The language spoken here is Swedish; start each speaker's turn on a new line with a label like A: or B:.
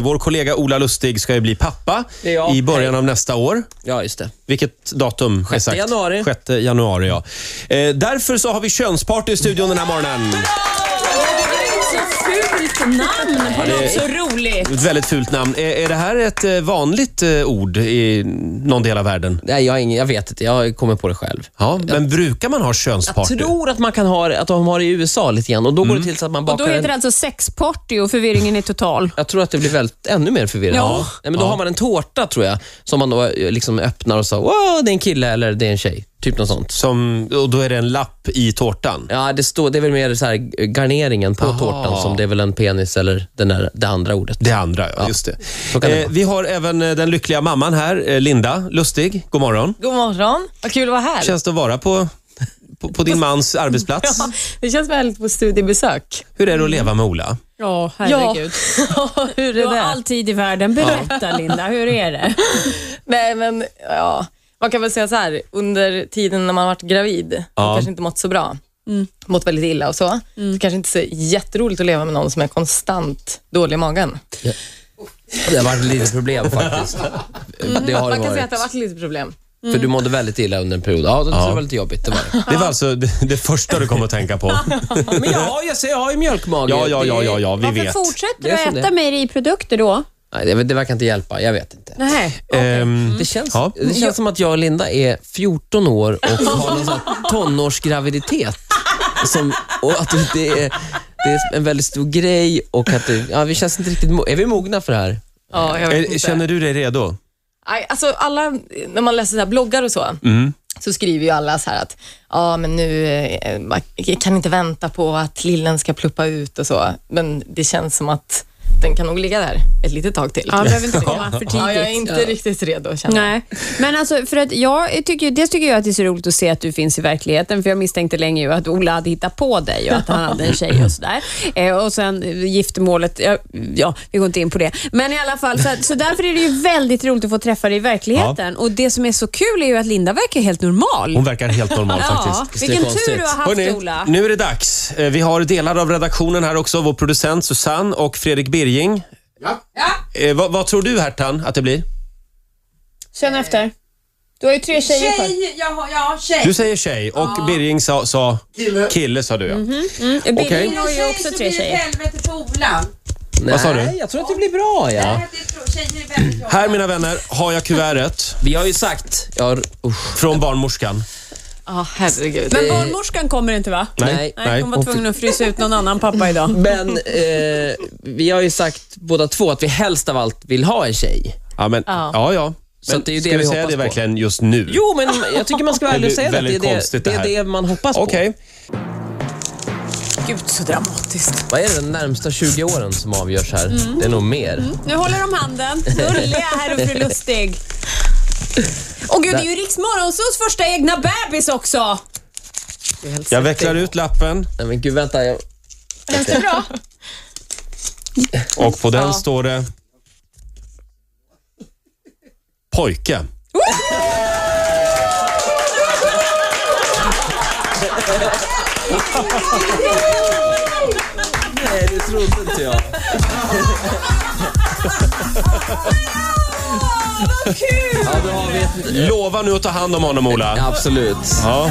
A: Vår kollega Ola Lustig ska ju bli pappa
B: Det är jag.
A: i början av nästa år.
B: Ja, just det.
A: Vilket datum?
B: Sjätte
A: exakt?
B: januari.
A: 6 januari, ja. Eh, därför så har vi könsparty i studion den här morgonen.
C: Så fult namn på något så roligt.
A: Ett väldigt fult namn. Är, är det här ett eh, vanligt eh, ord i någon del av världen?
B: Nej, jag, har ingen, jag vet inte. Jag kommer på det själv.
A: Ja, men brukar man ha könsparty?
B: Jag tror att, man kan ha, det- att de har det i USA lite grann och då går det till så att man
C: Och
B: bakar
C: då heter det
B: en...
C: alltså sexparty och förvirringen är total.
B: Jag tror att det blir väldigt, ännu mer förvirrande.
C: Ja.
B: Nej, men då har man en tårta, tror jag, som man då eh, liksom öppnar och så, wow, det är en kille eller det är en tjej. Typ något sånt.
A: Som, och då är det en lapp i tårtan.
B: Ja, det, står, det är väl mer så här garneringen på tårtan som det är väl en penis eller den där, det andra ordet.
A: Det andra, ja. Just
B: så kan det
A: det. Eh,
B: vara.
A: vi har även eh, den lyckliga mamman här, eh, Linda Lustig. God morgon.
D: God morgon. Vad kul att vara här.
A: Känns det att vara på, på, på din mans arbetsplats?
D: Det känns väldigt på studiebesök.
A: Hur är det att leva med Ola?
C: Ja, herregud.
D: Ja, hur
C: Du
D: är
C: har
D: det?
C: all tid i världen. Berätta Linda, hur är det?
D: Nej, men ja. Man kan väl säga så här, under tiden när man varit gravid,
A: Ja.
D: man kanske inte mått så bra. Mått väldigt illa och så. Det kanske inte är så jätteroligt att leva med någon som är konstant dålig i magen.
B: Det har varit lite problem faktiskt. Det har
D: Mm, Man
B: det
D: kan säga att
B: varit.
D: det har varit lite problem.
B: För du mådde väldigt illa under en period. Ja, det var lite jobbigt. Det var det.
A: Det var alltså det, det första du kom att tänka på.
B: Men ja, jag, ser, jag har ju mjölkmage.
A: Ja, ja, ja, ja, ja vi
C: Varför
A: vet.
C: fortsätter
B: Det
C: du
B: är som
C: att
B: det
C: äta
B: är.
C: mejeriprodukter då?
B: Nej, det, det verkar inte hjälpa. Jag vet inte.
C: Nej.
A: Ehm,
B: Mm. Det känns,
A: Ja.
B: det känns som att jag och Linda är 14 år och har någon sån här tonårsgraviditet. Som, och att det är, det är en väldigt stor grej och att det, ja, vi känns inte riktigt... mo- Är vi mogna för det här?
D: Ja, jag vet
A: är,
D: inte.
A: känner du dig redo?
D: Nej, alltså alla, när man läser så här bloggar och så, så skriver ju alla så här att ja, men nu eh, man kan inte vänta på att lillen ska pluppa ut och så, men det känns som att den kan nog ligga där ett litet tag till.
C: Ja, behöver inte komma för
D: Ja, jag är
C: tidigt.
D: inte riktigt redo känner jag.
C: Nej, men alltså för att jag tycker, dels tycker jag att det är så roligt att se att du finns i verkligheten, för jag misstänkte länge ju att Ola hade hittat på dig och att han hade en tjej och sådär. Eh, och sen eh, giftermålet, ja, ja, vi går inte in på det. Men i alla fall, så, att, så därför är det ju väldigt roligt att få träffa dig i verkligheten. Och det som är så kul är ju att Linda verkar helt normal.
A: Hon verkar helt normal
C: ja,
A: faktiskt.
C: vilken
B: Det är
C: tur du har haft
A: Hörrni,
C: Ola.
A: nu är det dags. Eh, Vi har delar av redaktionen här också. Vår producent Susanne och Fredrik Birging. Ja. Eh, vad, vad tror du Hertan att det blir?
C: Känn efter. Du har ju tre tjejer kvar.
E: Tjej, jag har, ja, tjej.
A: Du säger tjej och Birging sa, sa... Kille. sa du ja.
C: Birgit
A: Okej.
C: har ju också tre
E: så blir det
C: tjejer.
E: ett helvete på Ola.
B: Vad
A: sa du?
B: jag tror att det blir bra. Ja.
E: Nej, det tror- Tjejer är väldigt jobbiga.
A: Här mina vänner har jag kuvertet
B: Vi har ju sagt... Ja, usch,
A: från barnmorskan.
D: Ja, herregud.
C: Men barnmorskan kommer inte va?
B: nej.
C: Nej, hon var tvungen att frysa ut någon annan pappa idag.
B: Men eh, vi har ju sagt båda två att vi helst av allt vill ha en tjej.
A: Ja, men, ja. ja,
B: Så
A: Men
B: det är ju det
A: ska vi
B: vi
A: säga
B: hoppas
A: det
B: på.
A: verkligen just nu?
B: Jo, men jag tycker man ska vara ärlig och
A: Det
B: säga
A: är
B: det. Det är
A: väldigt
B: det,
A: konstigt det
B: det, är
A: här.
B: det man hoppas på.
A: Okej.
C: Gud, så dramatiskt.
B: Vad är det de närmsta 20 åren som avgörs här? Det är nog mer.
C: Nu håller de handen. Gulliga herr och fru Lustig. Åh gud, det är ju Riks Morgonzos första egna bebis också.
A: Jag vecklar ut lappen
B: Nej, men gud, vänta. Jag...
C: Känns det bra?
A: och på den står det... Pojke.
B: Nej, det trodde inte jag. Ja, då har vi ett...
A: Lova nu att ta hand om honom Ola.
B: Absolut.
A: Ja.